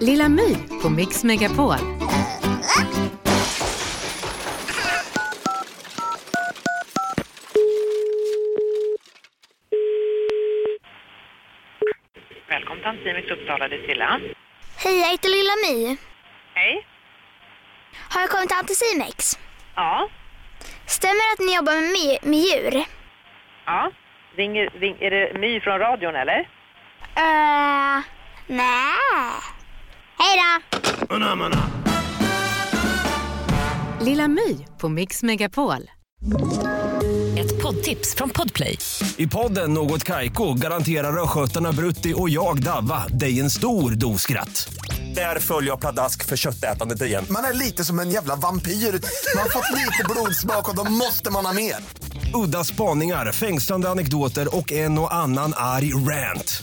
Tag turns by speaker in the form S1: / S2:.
S1: Lilla My på Mix Megapol.
S2: Välkommen till Antimics Uppsala, det är Silla.
S3: Hej, jag heter Lilla My.
S2: Hej.
S3: Har jag kommit till Anticimex?
S2: Ja.
S3: Stämmer det att ni jobbar med, my- med djur?
S2: Ja. Ringer, ring, är det My från radion eller?
S3: Uh, nej. Hej då!
S1: Lilla My på Mix Megapol.
S4: Ett poddtips från Podplay.
S5: I podden Något Kaiko garanterar östgötarna Brutti och jag, Davva, dig en stor dos skratt. Där följer jag pladask för köttätandet igen.
S6: Man är lite som en jävla vampyr. Man har fått lite blodsmak och då måste man ha mer.
S5: Udda spaningar, fängslande anekdoter och en och annan arg rant.